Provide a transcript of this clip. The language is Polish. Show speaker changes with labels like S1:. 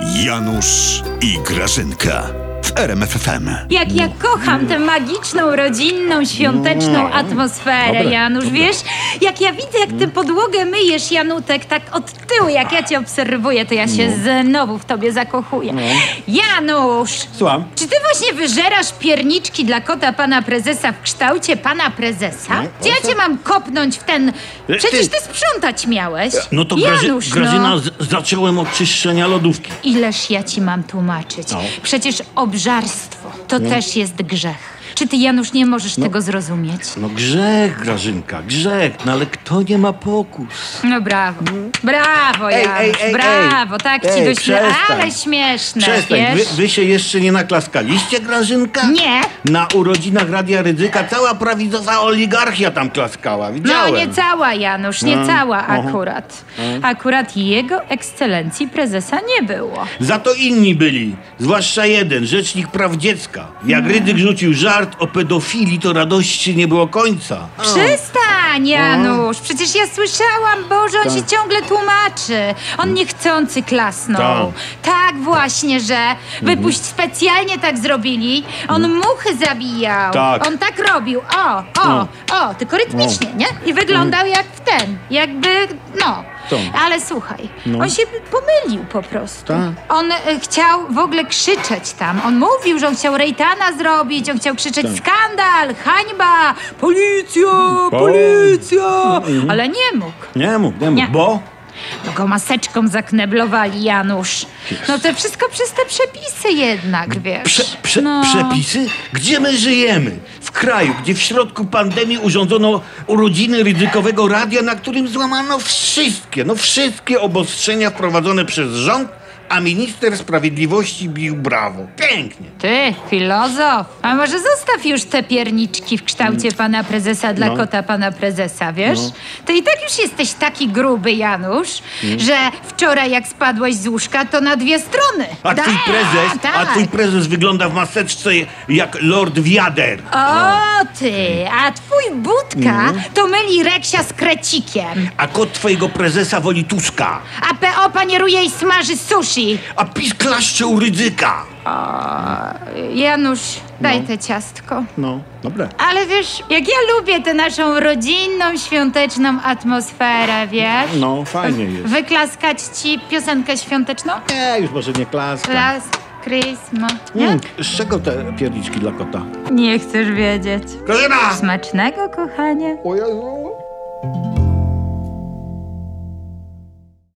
S1: Janusz i Grażynka w RMFFM.
S2: Jak ja kocham tę magiczną, rodzinną,
S3: Mm.
S2: świąteczną atmosferę,
S4: Dobre,
S2: Janusz, wiesz? Jak ja widzę, jak ty podłogę myjesz, Janutek, tak od tyłu, jak ja cię obserwuję, to ja się
S3: Mm.
S2: znowu w tobie zakochuję.
S3: No.
S2: Janusz!
S4: Słucham.
S2: Czy ty właśnie wyżerasz pierniczki dla kota pana prezesa w kształcie pana prezesa? Czy ja cię mam kopnąć w ten...
S3: E,
S2: Przecież
S3: ty-
S2: ty sprzątać miałeś.
S3: No to Graży,
S2: Janusz,
S3: Grażyna,
S2: no.
S3: z- zacząłem od czyszczenia lodówki.
S2: Ileż ja ci mam tłumaczyć?
S3: No.
S2: Przecież obżarstwo to też jest grzech. Czy ty, Janusz, nie możesz tego zrozumieć?
S3: No grzech, Grażynka, grzech, no ale kto nie ma pokus?
S2: No brawo. Brawo,
S3: Ej,
S2: Janusz.
S3: ej, ej,
S2: brawo,
S3: ej.
S2: tak ci dośmie...
S3: Ej, przestań.
S2: Ale śmieszne,
S3: Przestań, wy,
S2: wiesz?
S3: wy się jeszcze nie naklaskaliście, Grażynka?
S2: Nie.
S3: Na urodzinach Radia Rydzyka cała prawicowa oligarchia tam klaskała, widziałem. No. Mhm.
S2: No nie cała, Janusz, nie cała akurat. Akurat jego ekscelencji prezesa nie było.
S3: Za to inni byli, zwłaszcza jeden, rzecznik praw dziecka.
S2: Mm.
S3: Jak Rydzyk rzucił żart o pedofilii, to radości nie było końca. No.
S2: Przestań, Janusz! Przecież ja słyszałam, Boże,
S3: Tak.
S2: on się ciągle tłumaczy. On niechcący klasnął. Tak właśnie, że wypuść specjalnie tak zrobili. On muchy zabijał.
S3: Tak.
S2: On tak robił. O, o, o, tylko rytmicznie, nie? I wyglądał jak w ten, jakby, no. Ale słuchaj, on się pomylił po prostu. On e, chciał w ogóle krzyczeć tam. On mówił, że on chciał Rejtana zrobić, on chciał krzyczeć skandal, hańba, policja, policja, ale nie mógł.
S3: Nie mów, nie mów,
S2: Nie.
S3: bo...
S2: No go maseczką zakneblowali, Janusz. No to wszystko przez te przepisy jednak, wiesz.
S3: Prze, prze,
S2: no.
S3: Przepisy? Gdzie my żyjemy? W kraju, gdzie w środku pandemii urządzono urodziny ryzykowego radia, na którym złamano wszystkie, no wszystkie obostrzenia wprowadzone przez rząd, a minister sprawiedliwości bił brawo. Pięknie.
S2: Ty, filozof. A może zostaw już te pierniczki w
S3: Mm.
S2: kształcie pana prezesa dla
S3: No.
S2: kota pana prezesa, wiesz? To i tak już jesteś taki gruby, Janusz,
S3: Mm.
S2: że wczoraj jak spadłeś z łóżka, to na dwie strony.
S3: A twój
S2: Tak,
S3: prezes,
S2: tak.
S3: a twój prezes wygląda w maseczce jak Lord Wiader.
S2: O ty, a twój budka
S3: Mm.
S2: to myli Reksia z krecikiem,
S3: A kot twojego prezesa woli Tuska,
S2: a PO panieruje i smaży sushi.
S3: a PiS klaszcze u Rydzyka.
S2: Janusz, daj te ciastko.
S4: No, dobra.
S2: Ale wiesz, jak ja lubię tę naszą rodzinną, świąteczną atmosferę, wiesz?
S4: No, fajnie jest.
S2: Wyklaskać ci piosenkę świąteczną?
S3: Tak.
S4: Nie, już może nie klaska.
S2: Last Christmas. Nie?
S4: Mm, z czego te pierniczki dla kota?
S2: Nie chcesz wiedzieć.
S3: Grażyna!
S2: Smacznego, kochanie.
S4: O Jezu.